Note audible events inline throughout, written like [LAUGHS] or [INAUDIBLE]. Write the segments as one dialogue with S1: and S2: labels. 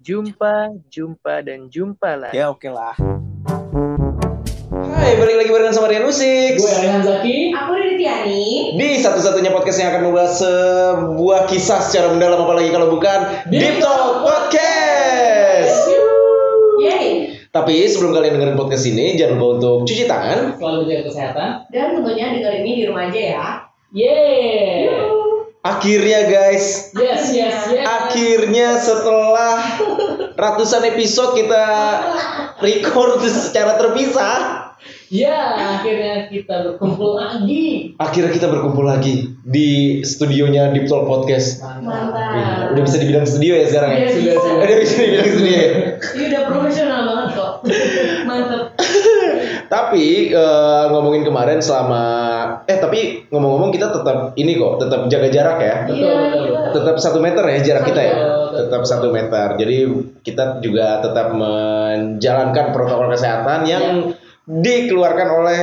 S1: Jumpa, jumpa, dan jumpa lagi.
S2: Ya oke lah.
S3: Hai, balik lagi bareng sama Rian Musik.
S4: Gue Rehan Zaki.
S5: Aku Riri Tiani.
S3: Di satu-satunya podcast yang akan membahas sebuah kisah secara mendalam apalagi kalau bukan Deep Talk Podcast.
S5: Yeay.
S3: Tapi sebelum kalian dengerin podcast ini, jangan lupa untuk cuci tangan.
S4: Selalu jaga kesehatan.
S5: Dan tentunya dengerin ini di rumah aja ya.
S4: Yeay.
S3: Akhirnya guys,
S4: Yes, yes, yes.
S3: akhirnya setelah ratusan episode kita record secara terpisah,
S4: Ya, akhirnya kita berkumpul lagi.
S3: akhirnya kita berkumpul lagi di studionya Deep Talk Podcast.
S5: Mantap.
S3: Iya, Udah bisa dibilang studio ya sekarang ya?
S5: Iya,
S4: Sudah,
S5: bisa.
S4: sudah.
S3: Udah bisa dibilang studio ya?
S5: Ini udah profesional banget kok. Mantep.
S3: Tapi eh, ngomongin kemarin selama eh tapi ngomong-ngomong kita tetap ini kok tetap jaga jarak ya.
S4: Betul,
S5: Iya,
S4: betul,
S5: iya.
S3: Tetap satu meter ya jarak kita ya.
S4: Betul, betul.
S3: Tetap satu meter. Jadi kita juga tetap menjalankan protokol kesehatan yang dikeluarkan oleh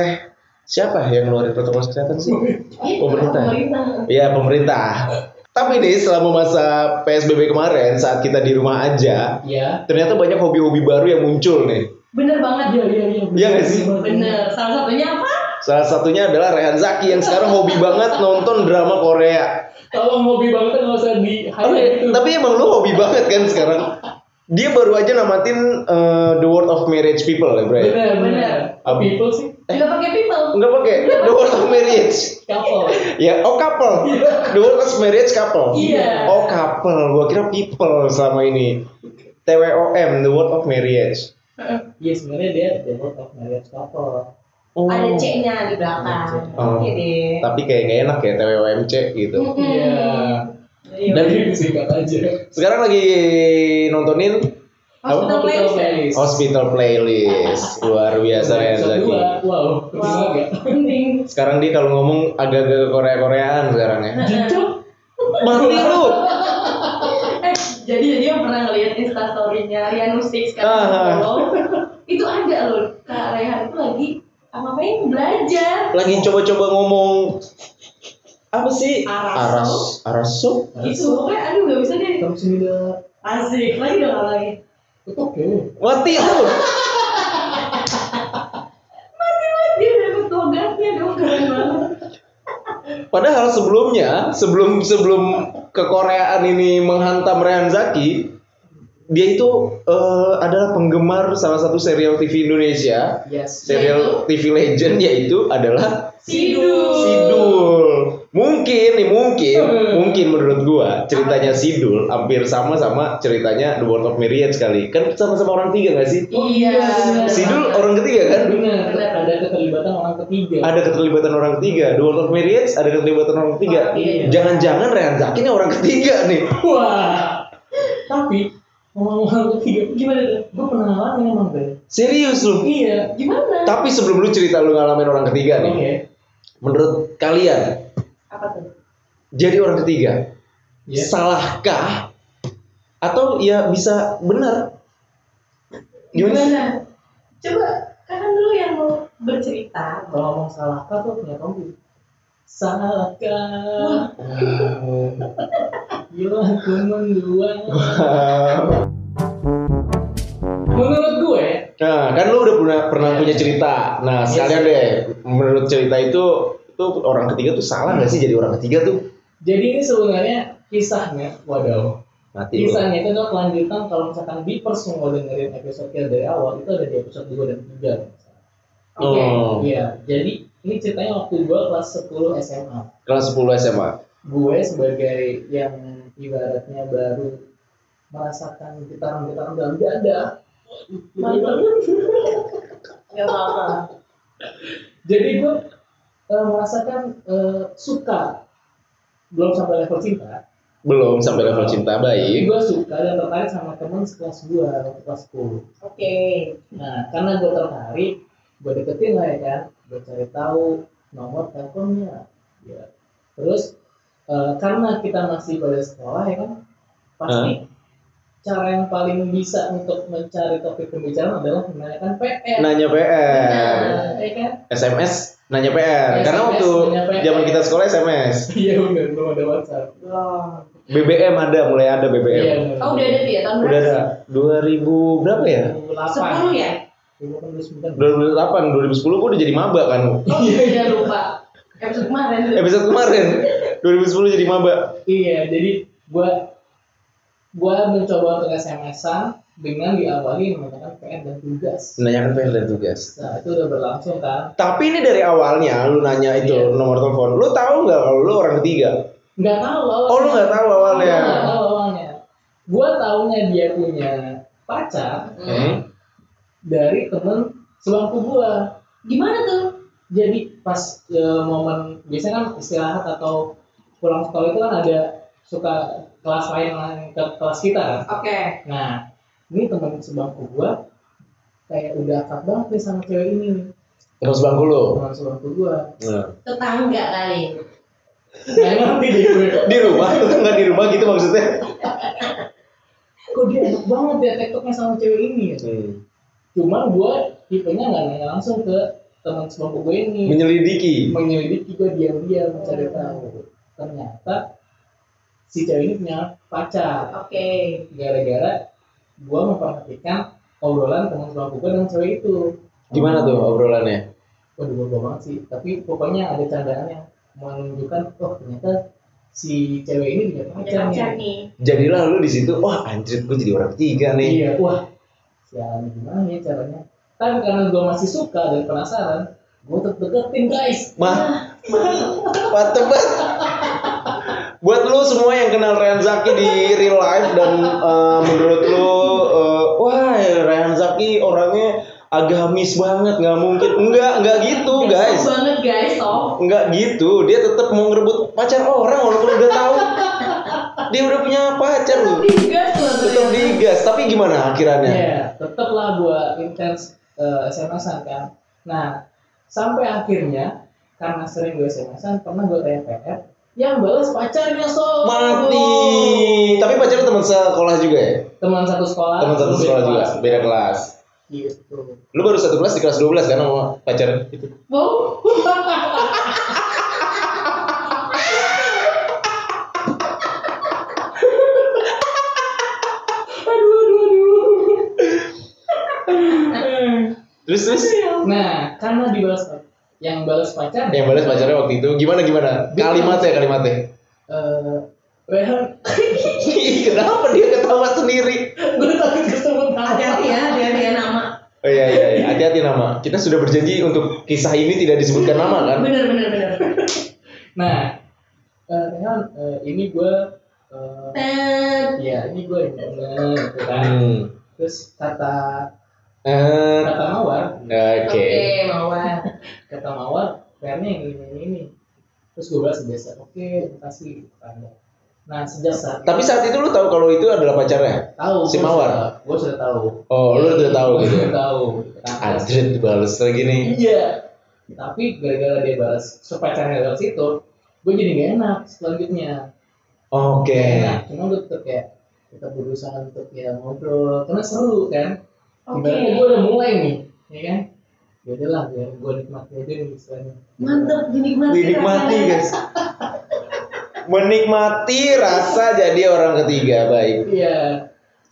S3: siapa yang ngeluarin protokol kesehatan sih?
S5: Iya,
S3: Pemerintah.
S5: Pemerintah.
S3: Ya pemerintah. Tapi nih selama masa PSBB kemarin saat kita di rumah aja
S4: Ya.
S3: ternyata banyak hobi-hobi baru yang muncul nih.
S5: Bener banget.
S4: Iya, iya, iya.
S3: Iya nggak sih?
S5: Bener. Salah satunya apa?
S3: Salah satunya adalah Rehan Zaki yang sekarang hobi banget nonton drama Korea.
S4: Tolong hobi banget nggak usah di highlight
S3: Tapi,
S4: itu.
S3: tapi emang lu hobi banget kan sekarang? Dia baru aja namatin eh, The World of Marriage People ya, Bray.
S4: Benar, benar.
S5: Benar.
S3: Apa?
S4: People sih,
S5: Nggak pakai people.
S3: Enggak pakai The World of Marriage.
S4: couple.
S3: Ya, oh couple. The World of Marriage couple.
S5: Iya.
S3: Oh couple. Gua kira people selama ini. TWOM, The World of Marriage.
S4: Iya, sebenarnya dia the world of marriage couple.
S3: Oh.
S5: Ada C-nya di belakang.
S3: Oh.
S5: Oke deh.
S3: Tapi kayak gak enak ya TWOMC gitu.
S5: Mm-mm.
S4: Iya.
S5: Iya.
S4: Dan itu singkat aja.
S3: Sekarang lagi nontonin
S5: Hospital
S4: Apa?
S5: Playlist.
S4: Playlist.
S3: Hospital playlist luar Oh, biasa ya
S4: Episode
S3: Zaki.
S4: dua. Wow, wow.
S5: Wow. Penting.
S3: Sekarang dia kalau ngomong agak-agak Korea-Koreaan sekarang ya.
S4: Gitu.
S3: Mati lu.
S5: Eh, jadi jadi yang pernah ngeliat instastorynya Rian Musik
S3: Ah.
S5: sekarang di follow, [LAUGHS] itu ada loh Kak Rehan itu lagi apa apa yang belajar
S3: Lagi coba-coba ngomong apa sih?
S5: Araso.
S3: Aras Araso.
S5: itu Gitu, pokoknya aduh gak bisa deh
S4: Kamu sudah.
S5: asik lagi dong apa lagi
S4: Oke.
S3: Mati lu.
S5: dia dapet logatnya dong keren banget
S3: Padahal sebelumnya, sebelum sebelum kekoreaan ini menghantam Rehan Zaki, dia itu eh, adalah penggemar salah satu serial TV Indonesia,
S4: Yes.
S3: serial TV legend yaitu adalah
S5: Sidul
S3: Sidul. Mungkin nih mungkin
S4: Hmm.
S3: mungkin menurut gua ceritanya Sidul hampir sama sama ceritanya The World of Marriage kali. Kan sama-sama orang tiga gak sih?
S5: iya
S4: Iya,
S3: Oh, Sidul orang ketiga kan?
S4: Benar,
S5: Benar.
S4: ada keterlibatan orang ketiga.
S3: Ada keterlibatan orang ketiga. The World of Marriage ada keterlibatan orang ketiga.
S4: Oh,
S5: Orang
S4: iya.
S5: ketiga.
S3: Jangan-jangan Rehan Zaki ini orang ketiga nih.
S4: Wah. Tapi ngomong orang ketiga gimana tuh? Gue pernah ngalamin emang deh.
S3: Serius lu.
S4: Iya.
S5: gimana
S3: Tapi sebelum lu cerita lu ngalamin orang ketiga nih.
S4: Oke.
S3: Menurut kalian
S5: apa tuh
S3: jadi orang ketiga
S4: Iya.
S3: salahkah atau ya bisa benar?
S5: gimana coba kakak dulu yang mau bercerita
S4: Kalau ngomong salah kah tuh punya kamu. Salah kah? Yo aku mendua. Menurut gue,
S3: Nah, kan lu udah pernah
S4: Iya,
S3: pernah punya cerita. Nah, sekalian deh, menurut cerita itu itu orang ketiga tuh salah nggak sih jadi orang ketiga tuh?
S4: jadi ini sebenarnya kisahnya, waduh.
S3: Mati lu.
S4: Kisahnya itu adalah kelanjutan kalau misalkan Beepers mau dengerin episode kita dari awal itu ada di episode 2 dan 3.
S5: oke
S3: Oh,
S4: Iya, jadi ini ceritanya waktu gue kelas 10 SMA.
S3: kelas 10 SMA.
S4: Gue sebagai yang ibaratnya baru merasakan getaran-getaran dalam dada.
S5: nggak apa-apa
S4: Jadi gue eh, merasakan eh, suka belum sampai level cinta.
S3: Belum sampai
S4: Iya.
S3: level cinta
S4: Jadi
S3: baik.
S4: gue suka dan tertarik sama temen sekelas gue waktu kelas 10.
S5: oke
S4: Nah, karena gue tertarik, gue deketin lah ya kan, gue cari tahu nomor teleponnya. Ya. Terus eh, karena kita masih pada sekolah ya kan, pasti cara yang paling bisa untuk Iya. mencari topik pembicaraan adalah menanyakan PR.
S3: Eh. Nanya PR.
S4: Nah, ya kan?
S3: SMS Nanya PR.
S4: SMS,
S3: Karena waktu
S4: nanya PR.
S3: zaman kita sekolah SMS.
S4: [LAUGHS] Iya benar, belum ada WhatsApp.
S5: Wah.
S3: BBM ada, mulai ada
S4: Iya
S3: BBM.
S4: benar.
S5: Oh udah ada dia tahun
S3: Udah
S5: berapa?
S3: ada 2000 berapa ya?
S4: 2008.
S5: Sepuluh ya?
S4: 2008.
S3: 2008, 2010 gua udah jadi maba kan.
S5: Oh iya lupa. Episode kemarin.
S3: Episode kemarin 2010 jadi maba.
S4: Iya, jadi gua gua mencoba untuk SMS-an dengan diawali menggunakan PR dan tugas.
S3: Menanyakan PR dan tugas.
S4: Nah, itu udah berlangsung kan?
S3: Tapi ini dari awalnya lu nanya itu
S4: Iya.
S3: nomor telepon. Lu tahu nggak kalau lu orang ketiga?
S4: Nggak tahu awalnya.
S3: Oh lu nggak tahu awalnya.
S4: Gua nggak tahu awalnya. Gua taunya dia punya pacar
S3: Hmm.
S4: dari temen sebangku gua.
S5: Gimana tuh?
S4: Jadi pas eh, momen biasanya kan istirahat atau pulang sekolah itu kan ada suka kelas lain lain ke kelas kita kan.
S5: Oke.
S4: Nah, ini teman sebangku gua kayak udah akrab banget nih sama cewek ini nih.
S3: Terus bangku lu.
S4: Teman sebangku gua. Nah,
S3: Nah.
S5: Tetangga kali.
S4: Nggak ngerti deh gue.
S3: Di rumah [LAUGHS] lu nggak di rumah gitu maksudnya?
S4: Kok dia enak banget dia tektoknya sama cewek ini ya.
S3: Hmm.
S4: Cuman gua tipenya nggak nanya langsung ke teman sebangku gue ini.
S3: Menyelidiki.
S4: Menyelidiki gua diam-diam mencari tahu. Ternyata si cewek ini punya pacar.
S5: Oke.
S4: Gara-gara gua memperhatikan obrolan teman sebangku gue dengan cewek itu.
S3: Gimana tuh obrolannya?
S4: waduh gue banget sih tapi pokoknya ada candaan yang menunjukkan oh ternyata si cewek ini punya
S5: Ada
S4: pacar
S5: pacar
S4: nih
S5: nih.
S3: Jadilah lu di situ. Wah anjir gue jadi orang ketiga nih.
S4: iya wah sialan gimana ya caranya tapi karena gue masih suka dan penasaran gue tetep deketin guys
S3: Mah. Mantep banget. Buat lu semua yang kenal Rehan Zaki di real life dan eh, menurut lu eh, wah Rehan Zaki orangnya agamis banget nggak mungkin enggak enggak gitu guys
S5: Soft banget guys, soft.
S3: enggak gitu dia tetap mau ngerebut pacar orang walaupun udah tahu dia udah punya pacar lu
S5: Digas loh.
S3: tetap digas tapi gimana akhirannya
S4: Iya, tetep lah gue intens eh, SMS-an kan. Nah, sampai akhirnya karena sering gue SMS-an, pernah gue tanya PR, yang balas pacarnya so
S3: mati tapi pacar lu teman sekolah juga ya
S4: Teman satu sekolah.
S3: teman satu
S4: beda
S3: sekolah juga
S4: kelas.
S3: beda kelas
S4: Gitu.
S3: Lu baru satu kelas di kelas 12 kan sama pacar itu.
S5: Wow. [LAUGHS] aduh, aduh, aduh.
S3: Terus terus
S4: Nah, karena dibalas yang balas pacar
S3: yang balas pacarnya waktu itu gimana gimana? Kalimatnya kalimatnya. Iya.
S4: eh Rehan, [LAUGHS]
S3: Ih, Kenapa dia ketawa sendiri?
S4: gue takut kesemutan.
S5: Hati-hati ya, hati-hati ya nama.
S3: Oh iya iya iya. hati-hati nama. Kita sudah berjanji untuk kisah ini tidak disebutkan nama kan?
S5: Bener, bener, bener.
S4: Nah, eh Rehan, eh, ini gue, eh
S5: Tet.
S4: ya ini gue, gitu kan.
S3: Hmm.
S4: Terus kata
S3: Eh,
S4: kata mawar,
S5: Oke,
S3: Oke.
S5: Mawar.
S4: kata mawar, PR-nya yang ini, ini, ini. Terus gue balas biasa, oke, terima kasih. Tanda. Nah, sejak saat
S3: Tapi saat itu lu tahu kalau itu adalah pacarnya?
S4: tahu
S3: si Mawar?
S4: gue sudah tahu.
S3: Oh, lu udah tahu
S4: Gue
S3: gitu.
S4: sudah tahu. Nah,
S3: Anjir, dibales lagi nih.
S4: Iya. Tapi gara-gara dia balas sepacarnya balas itu, gue jadi gak enak selanjutnya.
S3: Oke.
S4: Nggak Enak. Cuma gue tetap kayak kita berusaha untuk ya ngobrol karena seru kan.
S5: Oke.
S4: Ibaratnya gue udah mulai nih, ya kan? Ya udah lah, biar gue nikmati aja nih istilahnya.
S5: Mantap, dinikmati.
S3: Dinikmati
S5: rasanya.
S3: guys. Menikmati rasa jadi orang ketiga baik.
S4: Iya.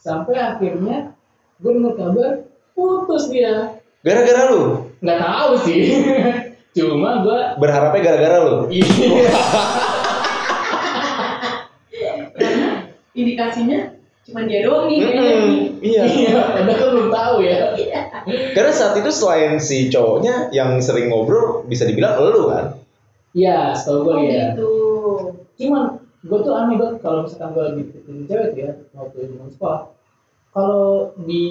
S4: Sampai akhirnya gue dengar kabar putus dia.
S3: Gara-gara lu?
S4: Nggak tahu sih. [LAUGHS] Cuma gue
S3: berharapnya gara-gara lu
S4: iya.
S5: Indikasinya cuma dia doang nih. kayaknya nih.
S3: Mm-mm, iya
S4: Iya, padahal belum tahu ya.
S3: karena saat itu selain si cowoknya yang sering ngobrol bisa dibilang lu kan
S4: Iya, setahu gue
S5: Oh
S4: ya.
S5: gitu.
S4: cuman gue tuh aneh banget kalau misalkan gue lagi deketin cewek tuh ya waktu zaman sekolah kalau di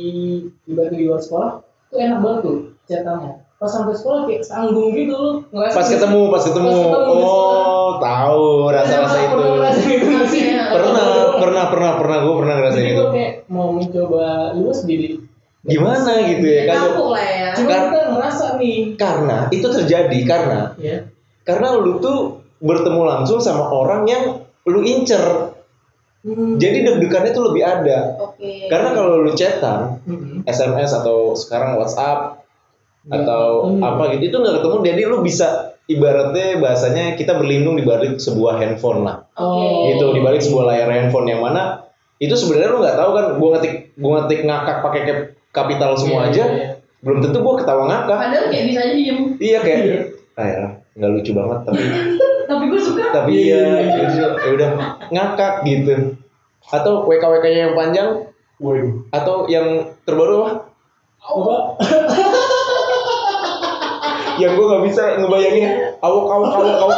S4: ibaratnya di luar sekolah tuh enak banget tuh catatannya pas sampai sekolah kayak sanggung gitu lu ngerasa
S3: pas ketemu pas ketemu
S4: Pas ketemu di
S3: oh tahu rasa-rasa itu
S4: pernah ngerasain itu nggak sih
S5: Iya.
S3: pernah pernah pernah pernah gue pernah ngerasain
S4: jadi
S3: itu
S4: gue kayak mau mencoba luas diri
S3: gimana gitu ya kan
S5: Kampung lah ya.
S4: cuma kita ngerasa nih
S3: karena itu terjadi karena
S4: ya
S3: karena lu tuh bertemu langsung sama orang yang lu incer
S4: hmm.
S3: jadi deg-degannya tuh lebih ada
S5: Oke.
S3: karena kalau lu chatan
S4: Mhm.
S3: SMS atau sekarang WhatsApp
S4: Hmm.
S3: atau
S4: ketemu.
S3: apa gitu itu nggak ketemu jadi lu bisa ibaratnya bahasanya kita berlindung di balik sebuah handphone lah
S4: Oh.
S3: gitu di balik sebuah layar handphone yang mana itu sebenarnya lu nggak tahu kan gua ngetik gua ngetik ngakak pakai cap- kapital semua
S4: Iya,
S3: aja
S4: iya.
S3: belum tentu gua ketawa ngakak
S5: Padahal kayak bisa aja diem. [LAUGHS]
S3: iya kayak
S4: Iya.
S3: ah ya nggak lucu banget tapi
S5: Tapi gue suka.
S3: tapi
S4: Iya,
S3: iya
S4: iya,
S3: gitu. ya udah ngakak gitu atau WKWK nya yang panjang
S4: Waduh.
S3: atau yang terbaru apa
S4: Apa?
S3: yang Ya, gua nggak bisa ngebayangin awok awok awok awok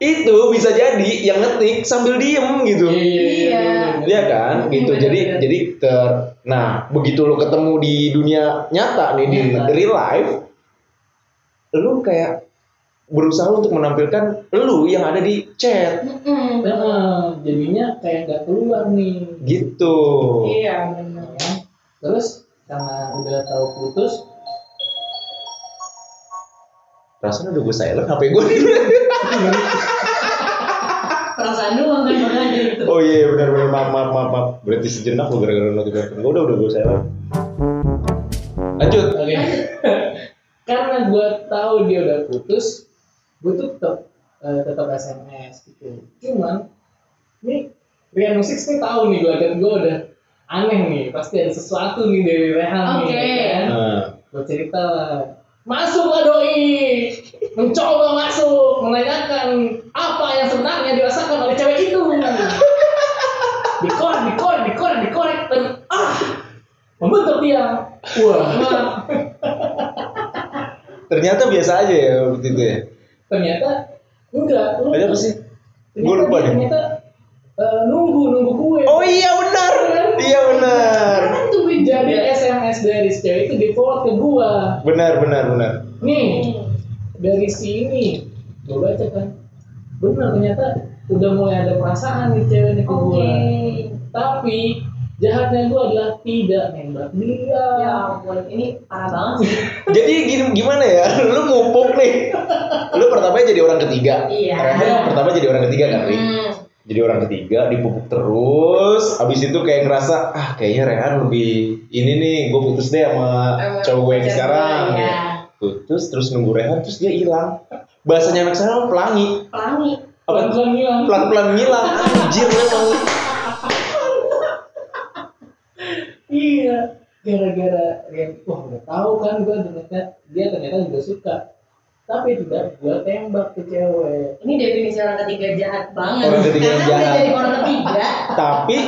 S3: itu bisa jadi yang ngetik sambil diem gitu Iya kan, gitu. Jadi jadi ter nah, begitu lu ketemu di dunia nyata nih di
S4: Nyata.
S3: the real life lu kayak berusaha untuk menampilkan lu yang ada di chat
S5: Mm-mm.
S4: Nah, jadinya kayak nggak keluar nih.
S3: gitu.
S5: Iya.
S4: Ya kan? Terus karena udah tahu putus,
S3: Rasanya udah gue silent HP gue.
S5: Perasaan doang kan makanya gitu.
S3: oh iya benar benar maaf maaf maaf. maaf. Berhenti sejenak lu gara-gara notifikasi. Gue udah udah gue silent. Lanjut.
S4: oke. [LAUGHS] karena gue tahu dia udah putus, gue tuh tetap eh, tetap SMS gitu. Cuman nih Rian Musik nih tahu nih gue dan gue udah aneh nih, pasti ada sesuatu nih dari Rehan nih.
S5: Oke.
S4: ya kan?
S3: Nah,
S4: gue cerita lah masuklah doi mencoba masuk menanyakan apa yang sebenarnya dirasakan oleh cewek itu dikorek dikorek dikorek dikorek dan ah membentuk dia Nah, wah
S5: Wah.
S3: ternyata biasa aja ya waktu itu ya.
S4: ternyata enggak lu
S3: Ada apa sih? Gue
S4: ternyata-
S3: lupa deh.
S4: ternyata eh, nunggu nunggu gue
S3: Oh iya benar. Iya benar.
S5: Kan tungguin
S4: jadi SMS dari si cewek itu di forward ke gua
S3: Benar benar benar.
S4: nih dari sini gue baca kan benar ternyata udah mulai ada perasaan di cewek ini ke
S5: Oke.
S4: gue tapi jahatnya gue adalah tidak nembak dia
S5: Ya ampun, ini parah banget sih.
S3: Jadi gini- gimana ya? [LAUGHS] Lu ngupuk nih. Lu pertama jadi orang ketiga.
S5: Iya.
S3: Karena Pertama jadi orang ketiga kan, Ri?
S5: Hmm.
S3: Jadi orang ketiga dipupuk terus. Habis itu kayak ngerasa ah kayaknya Rehan lebih ini nih gue putus deh sama
S5: Sama
S3: cowok gue yang
S5: pacar
S3: sekarang.
S5: gue, ya.
S3: Putus terus nunggu Rehan terus dia hilang. Bahasanya anak sekarang pelangi.
S5: Pelangi.
S3: Apa
S4: pelan
S3: tuh?
S4: pelan hilang
S3: Pelan-pelan ngilang anjir memang.
S4: iya gara-gara yang wah udah tahu kan gue ternyata dia ternyata juga suka tapi tidak gue tembak ke cewek
S5: Ini definisi orang ketiga jahat banget.
S3: Orang ketiga yang
S5: Karena
S3: jahat.
S5: udah jadi orang ketiga,
S3: Tapi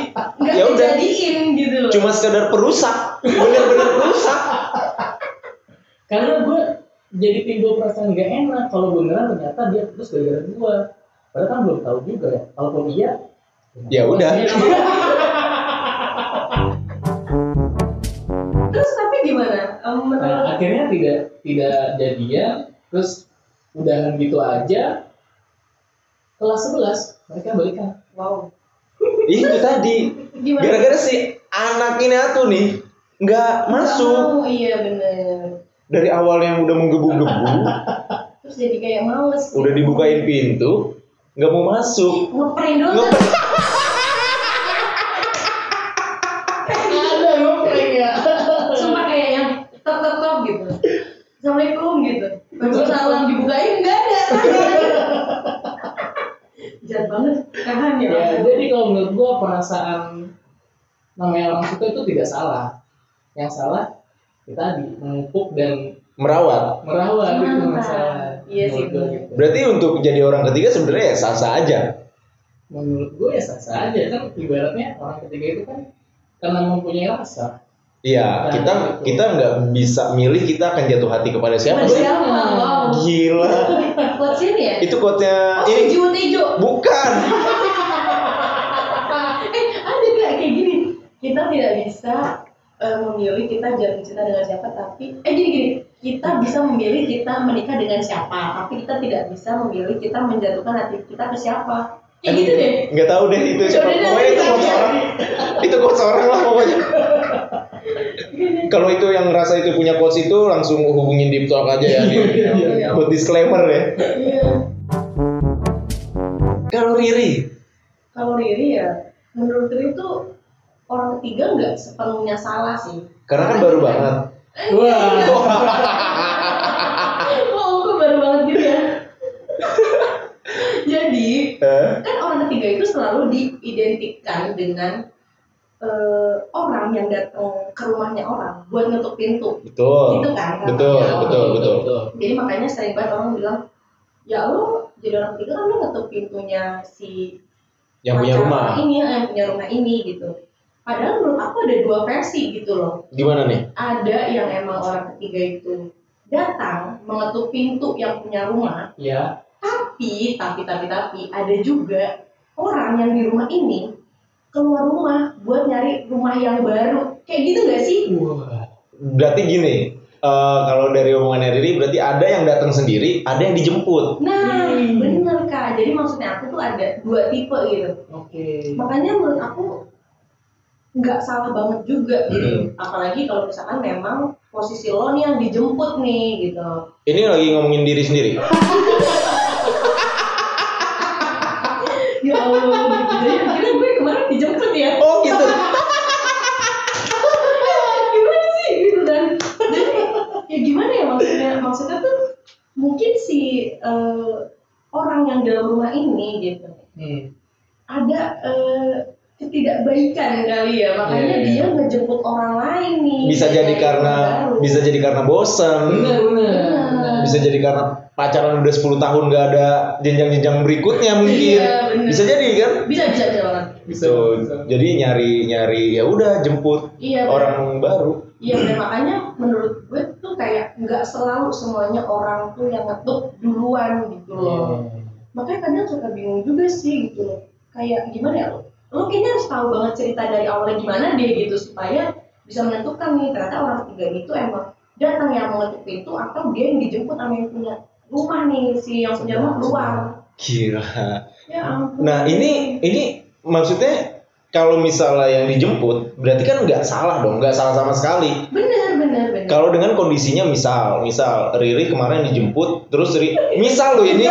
S5: nggak
S3: ya udah
S5: dijadiin gitu loh.
S3: cuma sekedar perusak. Bener-bener perusak.
S4: karena gue jadi timbul perasaan gak enak kalau beneran ternyata dia putus gara-gara gue padahal kan belum tahu juga ya kalaupun iya
S3: Ya
S4: [LAUGHS]
S3: udah.
S5: Terus tapi gimana? Em, menurut
S4: Nah, akhirnya tidak tidak jadian, terus udahan gitu aja. Kelas 11 mereka balikan.
S5: wow.
S3: itu tadi
S5: Gimana?
S3: gara-gara si anak ini atuh nih nggak masuk
S5: Mau, iya bener.
S3: dari awal yang udah menggebu-gebu
S5: Terus jadi kayak males.
S3: udah dibukain pintu nggak mau masuk
S5: Ngeprank doang.
S3: Nge-
S4: Ada ngompreng ya.
S5: Sumpah kayak yang tok tok tok gitu. Assalamualaikum gitu. Terus salam dibukain enggak ada. Jahat banget. Tahan ya.
S4: ya jadi kalau menurut gua perasaan namanya orang suka itu tidak salah. Yang salah kita tadi mengupuk dan
S3: merawat
S4: merawat itu
S5: Kenapa?
S4: masalah.
S5: Iya sih,
S4: Menurut gua
S5: bener.
S4: gitu.
S3: berarti untuk jadi orang ketiga sebenarnya ya sah-sah aja
S4: Menurut gua ya sah sah aja kan ibaratnya orang ketiga itu kan karena mempunyai rasa.
S3: iya
S5: Nah,
S3: kita kita nggak bisa milih kita akan jatuh hati kepada siapa
S5: gitu. Masih
S3: sih
S5: lama. Wow.
S3: gila
S5: Buat sini ya.
S3: itu Iya. quote-nya
S5: Oh,
S3: ini
S5: hijau hijau.
S3: bukan
S5: [LAUGHS] eh ada nggak kayak gini kita tidak bisa eh, memilih kita jatuh cinta dengan siapa tapi eh gini gini kita bisa memilih kita menikah dengan siapa tapi kita tidak bisa memilih kita menjatuhkan hati kita ke siapa
S3: Kan
S5: kayak gitu deh
S3: nggak tahu deh itu siapa
S5: Yaudah,
S3: pokoknya itu
S5: nanti
S3: quotes orang
S5: aja.
S3: itu quotes orang lah pokoknya kalau itu yang ngerasa itu punya quotes itu langsung hubungin di talk aja
S5: [LAUGHS]
S3: ya di, buat disclaimer ya
S5: iya
S3: kalau Riri
S5: kalau Riri ya menurut Riri tuh orang ketiga nggak sepenuhnya salah sih [LAUGHS]
S3: karena kan baru banget
S4: Wah.
S5: Wow, aku baru banget gitu
S3: [LAUGHS]
S5: ya. Jadi, kan orang ketiga itu selalu diidentikan dengan eh, orang yang datang ke rumahnya orang buat ngetuk pintu.
S3: betul
S5: Gitu kan?
S3: betul
S5: katanya.
S3: Oh, betul betul
S5: Jadi makanya sering banget orang bilang, ya lo jadi orang ketiga kan lo ngetuk pintunya si
S3: yang punya
S5: pacar
S3: rumah
S5: ini eh, yang punya rumah ini gitu. Padahal menurut aku ada dua versi gitu loh.
S3: gimana nih
S5: Ada yang emang orang ketiga itu datang mengetuk pintu yang punya rumah
S4: Ya.
S5: tapi tapi tapi tapi ada juga orang yang di rumah ini keluar rumah buat nyari rumah yang baru kayak gitu gak sih
S4: Wah.
S3: berarti gini eh, kalau dari omongannya Riri berarti ada yang datang sendiri ada yang dijemput
S5: nah
S4: Hmm.
S5: bener kak jadi maksudnya aku tuh ada dua tipe gitu
S4: Oke.
S5: makanya menurut aku nggak salah banget juga gitu apalagi kalau misalkan memang posisi lo nih yang dijemput nih gitu
S3: ini lagi ngomongin diri sendiri
S5: ya allah gitu jadi akhirnya gue kemarin dijemput ya
S3: oh gitu
S5: [LAUGHS] gimana sih gitu kan jadi ya gimana ya maksudnya maksudnya tuh mungkin si eh, orang yang dalam rumah ini gitu
S4: Hmm.
S5: ada eh, ketidakbaikan kali ya makanya
S4: Iya, iya.
S5: dia ngejemput orang lain nih
S3: bisa jadi
S5: Kayak gitu kan.
S3: karena
S5: baru.
S3: bisa jadi karena bosan
S4: Benar, benar.
S5: Benar.
S3: bisa jadi karena pacaran udah 10 tahun gak ada jenjang-jenjang berikutnya mungkin
S5: Iya, bener.
S3: bisa jadi kan
S5: bisa bisa bisa banget
S4: Bisa.
S3: So,
S4: bisa.
S3: jadi nyari nyari ya udah jemput
S5: iya bener.
S3: orang baru.
S5: Iya dan makanya menurut gue tuh kayak nggak selalu semuanya orang tuh yang ngetuk duluan gitu loh.
S3: Iya.
S5: makanya kadang suka bingung juga sih gitu loh kayak gimana ya lo lo kayaknya harus tahu banget cerita dari awalnya gimana deh gitu supaya bisa menentukan nih ternyata orang ketiga itu emang datang yang mengetuk pintu atau dia yang dijemput sama yang punya rumah nih si yang punya rumah keluar
S3: Gila.
S5: ya ampun
S3: Nah ini ini maksudnya kalau misalnya yang dijemput berarti kan nggak salah dong, nggak salah sama sekali.
S5: bener bener bener
S3: Kalau dengan kondisinya misal misal Riri kemarin dijemput terus Riri misal loh ini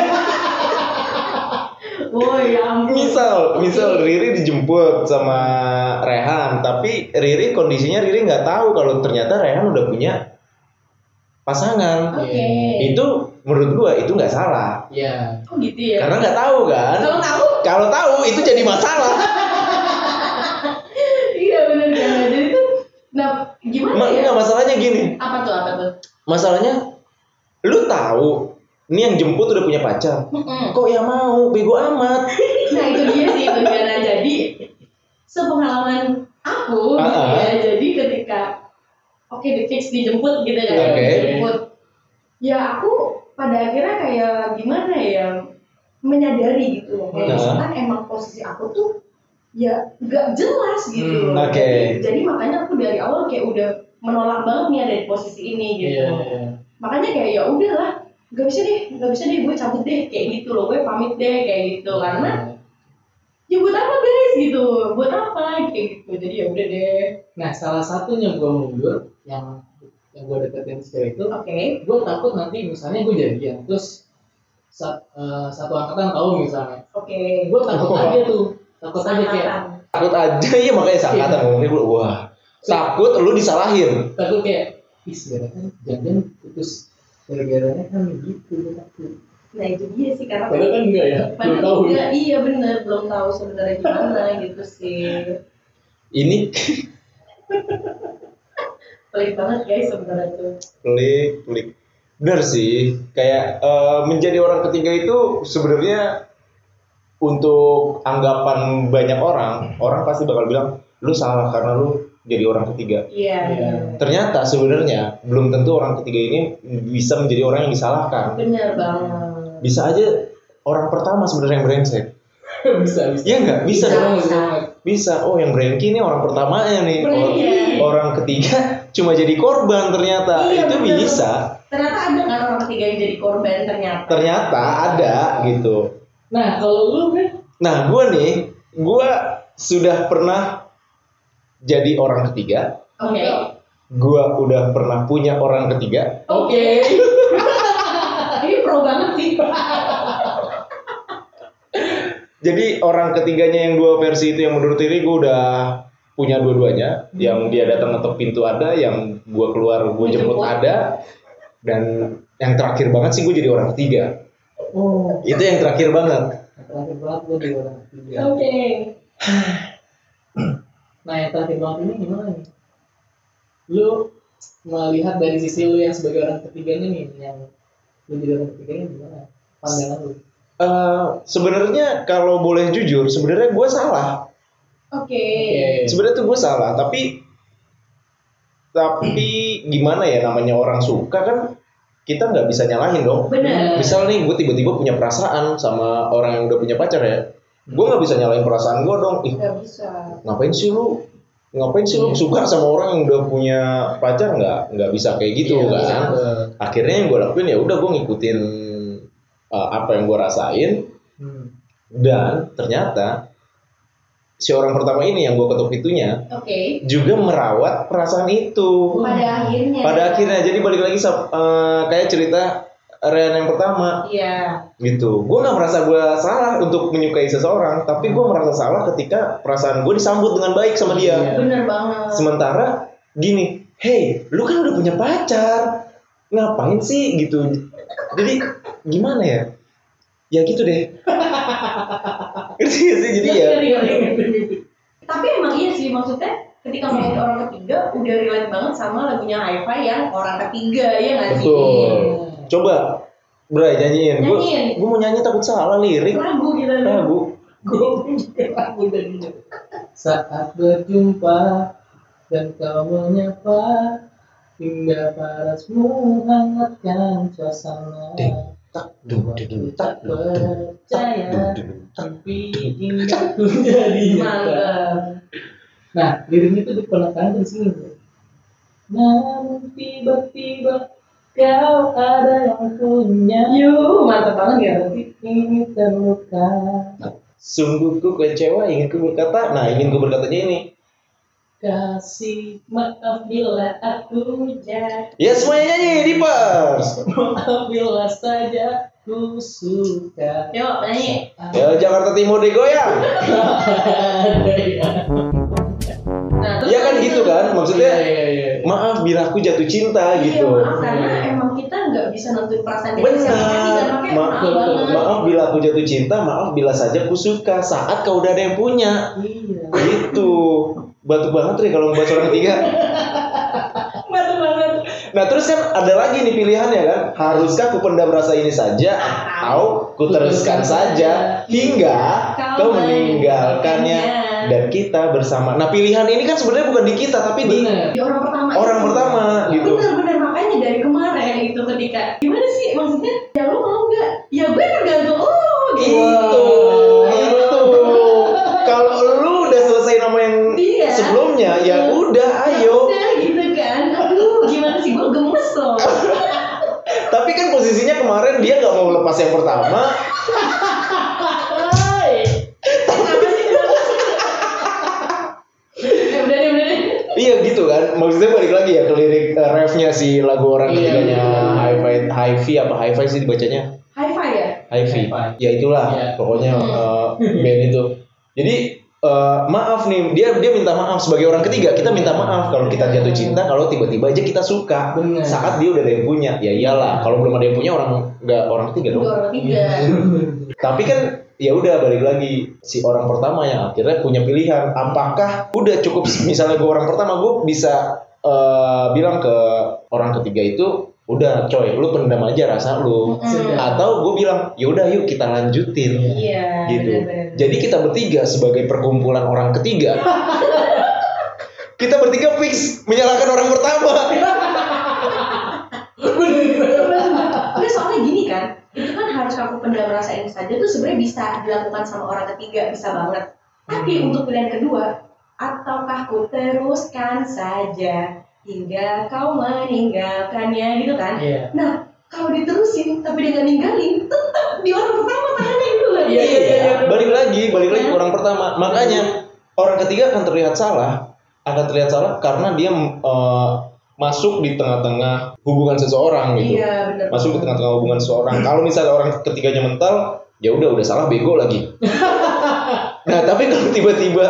S5: oh ya ampun
S3: misal misal Riri dijemput sama Rehan tapi Riri kondisinya Riri nggak tahu kalau ternyata Rehan udah punya pasangan
S5: oke
S3: itu menurut gua itu nggak salah
S4: Ya.
S5: oh gitu ya
S3: Karena nggak tahu kan?
S5: kalau tahu
S3: Kalau tahu itu jadi masalah.
S5: iya bener bener jadi tuh nah gimana
S3: Ma-
S5: ya
S3: nggak, masalahnya gini.
S5: apa tuh apa tuh
S3: Masalahnya lu tahu ini yang jemput udah punya pacar.
S5: Mm-mm.
S3: Kok ya mau bego amat.
S5: nah itu dia sih itu dia. Nah, jadi sepengalaman aku gitu
S3: Ah, ah.
S5: ya jadi ketika oke di fix dijemput gitu kan
S3: Oke.
S5: dijemput ya aku pada akhirnya kayak gimana ya menyadari gitu loh kayak
S3: Ah.
S5: misalkan emang posisi aku tuh ya nggak jelas gitu
S4: Hmm,
S5: loh
S3: oke.
S5: jadi, jadi makanya aku dari awal kayak udah menolak banget nih ada di posisi ini gitu
S4: Iya.
S5: makanya kayak ya udahlah nggak bisa deh nggak bisa deh gue cabut deh kayak gitu loh gue pamit deh kayak gitu karena ya buat apa guys gitu buat apa kayak gitu jadi ya udah deh
S4: Nah, salah satunya gue mundur yang yang gue deketin si cewek itu,
S5: oke
S4: gue takut nanti misalnya gue jadian terus sa- eh, satu angkatan tahu misalnya,
S5: oke
S4: gue takut
S3: Wah.
S4: aja tuh, takut aja ya. kayak
S5: Sangkatan.
S3: Takut aja ya makanya seangkatan ngomongin lu. Wah. Takut lu disalahin.
S4: takut kayak ih sebenarnya kan jangan putus gara-garanya kan gitu gue takut
S5: nah itu dia sih karena
S4: padahal kan enggak ya belum
S5: padahal
S4: tahu
S5: enggak, iya bener belum tahu sebenarnya gimana [LAUGHS] gitu sih
S3: Ini [LAUGHS]
S5: pelik banget guys sebenarnya tuh
S3: klik klik. Bener sih. Kayak eh, menjadi orang ketiga itu sebenarnya untuk anggapan banyak orang, orang pasti bakal bilang lu salah karena lu jadi orang ketiga.
S5: iya
S4: Iya.
S3: Ternyata sebenarnya belum tentu orang ketiga ini bisa menjadi orang yang disalahkan.
S5: bener banget
S3: Bisa aja orang pertama sebenarnya yang brengsek.
S4: ya. [LAUGHS] bisa bisa
S3: Iya nggak? Bisa
S5: Bisa.
S3: dong.
S4: bisa banget.
S3: Bisa. Oh yang brengki ini orang pertamanya nih. Or-
S5: Iya.
S3: Orang ketiga [LAUGHS] cuma jadi korban
S4: Nah,
S3: ternyata.
S5: Iya,
S3: Itu
S5: bener.
S3: bisa.
S5: ternyata ada kan orang ketiga yang jadi korban ternyata
S3: Ternyata ada gitu.
S4: nah kalau lu kan
S3: Nah gue nih, gue sudah pernah jadi orang ketiga.
S5: oke
S3: Gue udah pernah punya orang ketiga.
S5: oke ini pro banget sih
S3: Jadi orang ketiganya yang dua versi itu yang menurut diri gue udah punya dua-duanya
S5: Hmm.
S3: yang dia datang ngetok pintu ada yang gua keluar gua jemput
S5: Jemput.
S3: ada dan yang terakhir banget sih gua jadi orang ketiga
S4: oh
S3: itu yang terakhir banget
S4: terakhir banget gue di orang ketiga
S5: Oke.
S4: nah yang terakhir banget ini gimana nih lu melihat dari sisi lu yang sebagai orang ketiganya nih yang lu jadi orang ketiganya gimana pandangan lu
S3: Eh sebenarnya kalau boleh jujur sebenarnya gua salah
S5: Oke.
S3: sebenarnya tuh gue salah tapi tapi gimana ya namanya orang suka kan kita nggak bisa nyalahin dong
S5: Benar.
S3: misal nih gue tiba-tiba punya perasaan sama orang yang udah punya pacar ya gue nggak bisa nyalahin perasaan gue dong ih
S5: Gak bisa.
S3: ngapain sih lu ngapain sih lu
S4: Iya.
S3: suka sama orang yang udah punya pacar nggak nggak bisa kayak gitu
S4: Iya, nggak
S3: kan
S4: bisa.
S3: akhirnya yang gue lakuin ya udah gue ngikutin eh, apa yang gue rasain
S4: Hmm.
S3: dan ternyata si orang pertama ini yang gue ketuk pintunya
S5: Oke.
S3: juga merawat perasaan itu.
S5: Pada
S4: Iya.
S5: akhirnya.
S3: Pada akhirnya jadi balik lagi sab- eh, kayak cerita Ren yang pertama
S5: Iya.
S3: gitu. Gue nggak merasa gue salah untuk menyukai seseorang, tapi gue merasa salah ketika perasaan gue disambut dengan baik sama dia.
S4: Iya.
S5: Bener banget.
S3: Sementara gini, hey, lu kan udah punya pacar, ngapain sih gitu? Jadi gimana ya? Ya gitu deh. [LAUGHS] Ngerti nggak sih jadi
S4: Iya.
S3: ya.
S5: Ngeri, ngeri, ngeri. Tapi emang iya sih maksudnya ketika ngomongin
S3: Iya.
S5: orang ketiga udah relate banget sama lagunya Haifa yang orang ketiga ya nggak sih?
S3: Betul. Coba, Bray nyanyiin. Gue
S5: Nyanyiin.
S3: gue mau nyanyi takut salah lirik.
S5: Lagu gitu.
S3: Ah, Bu.
S4: Gue juga lagu dari dulu. Saat berjumpa dan kau menyapa Hingga parasmu hangatkan suasana
S3: Ding, tak, dum, ding, ding,
S4: Tak
S3: tak, dum, ding, tak, dum,
S4: percaya
S3: ding, ding, tak.
S4: Tapi ingat menjadi
S3: Iya.
S4: nyata
S5: Mantap.
S4: Nah, liriknya itu dipenekan di sini Bu. Namun tiba-tiba kau ada yang punya
S5: Yuh, mantap banget ya nanti.
S4: Ini terluka
S3: Sungguh ku kecewa ingin ku berkata. Nah, ingin ku berkatanya ini.
S4: Kasih maaf bila aku jatuh
S3: Ya semuanya nyanyi di pers.
S4: Apabila saja ku suka
S5: Yuk, nyanyi.
S3: Ya Jakarta Timur digoyang.
S4: ada ya.
S5: Nah, terus
S3: Ya kan
S5: lanjut.
S3: gitu kan maksudnya.
S4: iya, iya.
S3: Maaf bila aku jatuh cinta
S5: Iya,
S3: gitu.
S5: maaf karena emang kita nggak bisa nentuin perasaan kita
S3: Benar.
S5: siapa lagi kan
S3: Ma-
S5: makanya maaf banget.
S3: Maaf bila aku jatuh cinta, maaf bila saja ku suka saat kau udah ada yang punya.
S4: Iya.
S3: Gitu. Batuk banget nih kalau membuat orang tiga.
S5: Mantap banget.
S3: Nah terus kan ada lagi nih pilihannya kan Haruskah ku pendam rasa ini saja Atau ku teruskan saja Hingga kau meninggalkannya Dan kita bersama Nah pilihan ini kan sebenarnya bukan di kita Tapi di
S4: Benar.
S5: Di orang pertama.
S3: orang pertama gitu
S5: Bener-bener makanya dari kemarin itu ketika gimana sih maksudnya ya lo mau nggak? Ya gue tergantung lo. gitu.
S3: Itu Itu Kalau lu udah selesai nama yang
S5: Iya.
S3: sebelumnya Ya udah ayo
S5: Udah gitu kan. Aduh gimana sih gue gemes loh.
S3: Tapi kan posisinya kemarin dia gak mau lepas yang pertama
S5: Hai. Kenapa sih kenapa sih? Eh, Udah deh udah deh.
S3: Iya gitu kan, maksudnya balik lagi ya ke lirik eh, refnya si lagu orang
S4: Iya.
S3: ketiganya Hi-Fi, Hi-Fi apa Hi-Fi sih dibacanya?
S5: High five ya.
S3: Hi-Fi.
S4: Hi-Fi.
S3: Ya itulah,
S4: Iya. Hmm.
S3: pokoknya eh, band itu. Jadi eh, maaf nih, dia dia minta maaf sebagai orang ketiga, kita minta maaf kalau kita
S4: Iya.
S3: jatuh cinta, kalau tiba-tiba aja kita suka
S4: Bener.
S3: saat dia udah ada yang punya. Ya iyalah, kalau belum ada yang punya orang nggak orang ketiga
S5: Gue
S3: dong.
S5: orang ketiga.
S3: Tapi kan ya udah balik lagi si orang pertama yang akhirnya punya pilihan apakah udah cukup [LAUGHS] misalnya gue orang pertama gue bisa eh, bilang ke orang ketiga itu udah coy lu pendam aja rasa lu
S5: Mm.
S3: atau gue bilang ya udah yuk kita lanjutin
S5: Iya.
S3: gitu
S5: bener-bener.
S3: jadi kita bertiga sebagai perkumpulan orang
S5: [LAUGHS]
S3: ketiga kita bertiga fix menyalahkan orang pertama
S5: Tapi soalnya gini kan, itu kan harus aku pendam rasa ini saja tuh sebenarnya bisa dilakukan sama orang ketiga, bisa banget. Tapi
S4: Hmm.
S5: untuk pilihan kedua, ataukah ku teruskan saja hingga kau meninggalkannya gitu kan?
S4: Iya.
S5: Nah, kalau diterusin tapi dia nggak ninggalin, tetap di orang pertama tangannya gitu loh.
S4: Iya, iya, iya, iya.
S3: balik lagi balik lagi
S5: Ya.
S3: orang pertama makanya orang ketiga akan terlihat salah akan terlihat salah karena dia eh, masuk di tengah-tengah hubungan seseorang gitu
S5: Iya, benar.
S3: masuk di tengah-tengah hubungan seseorang kalau misalnya orang ketiganya mental ya udah
S4: [LAUGHS]
S3: udah salah bego lagi nah tapi kalau tiba-tiba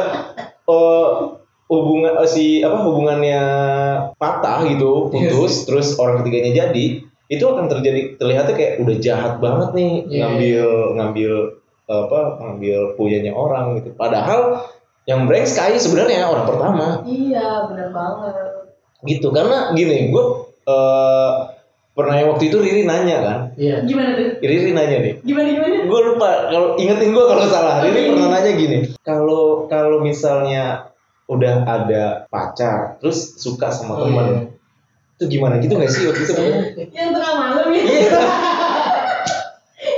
S3: eh, hubungan eh, si apa hubungannya patah gitu
S4: Iya
S3: putus terus orang ketiganya jadi itu akan terjadi terlihatnya kayak udah jahat banget nih
S4: Iya.
S3: ngambil ngambil apa ngambil punyanya orang gitu padahal yang brengsek sebenarnya orang pertama
S5: Iya, bener banget.
S3: gitu karena gini gue eh pernah yang waktu itu Riri nanya kan
S4: Iya.
S5: Gimana tuh?
S3: Riri nanya nih
S5: Gimana gimana?
S3: gue lupa kalau ingetin gue kalau salah Riri pernah nanya gini kalau kalau misalnya udah ada pacar terus suka sama
S4: Oh,
S3: teman
S4: iya.
S3: itu gimana gitu gak sih waktu itu
S5: Yang tengah malam ya?
S3: Iya.
S5: [LAUGHS]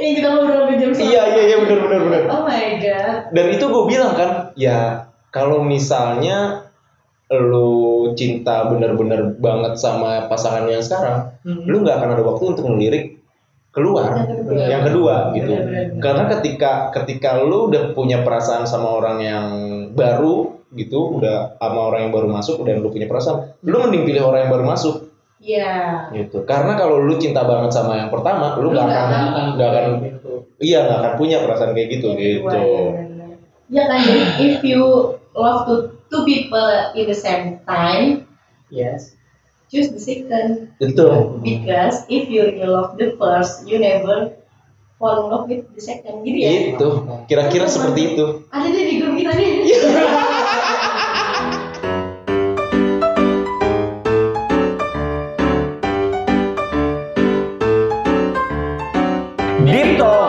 S5: Yang kita ngobrol sampai jam
S3: iya iya iya benar benar benar
S5: Oh my god.
S3: dan itu gue bilang kan ya kalau misalnya lu cinta bener-bener banget sama pasangan yang sekarang
S4: Hmm.
S3: lu nggak akan ada waktu untuk ngelirik keluar
S5: Yang kedua.
S3: yang kedua gitu
S5: Benar-benar.
S3: karena ketika ketika lu udah punya perasaan sama orang yang baru gitu udah sama orang yang baru masuk udah lu punya perasaan lu mending pilih orang yang baru masuk
S5: Iya.
S3: gitu karena kalau lu cinta banget sama yang pertama lu
S5: Lu
S3: nggak
S5: nggak
S3: akan
S4: akan gitu.
S3: nggak akan iya nggak akan punya perasaan kayak gitu
S5: Yang
S3: gitu
S5: kedua, benar-benar. iya, Ya kan, jadi if you love to two people in the same time,
S4: Yes.
S5: choose the second.
S3: betul
S5: Because if you really love the first, you never fall in love with the second. Gitu ya?
S3: itu Iya, kira-kira seperti itu
S5: Ada deh di grup kita nih.
S3: Deep Talk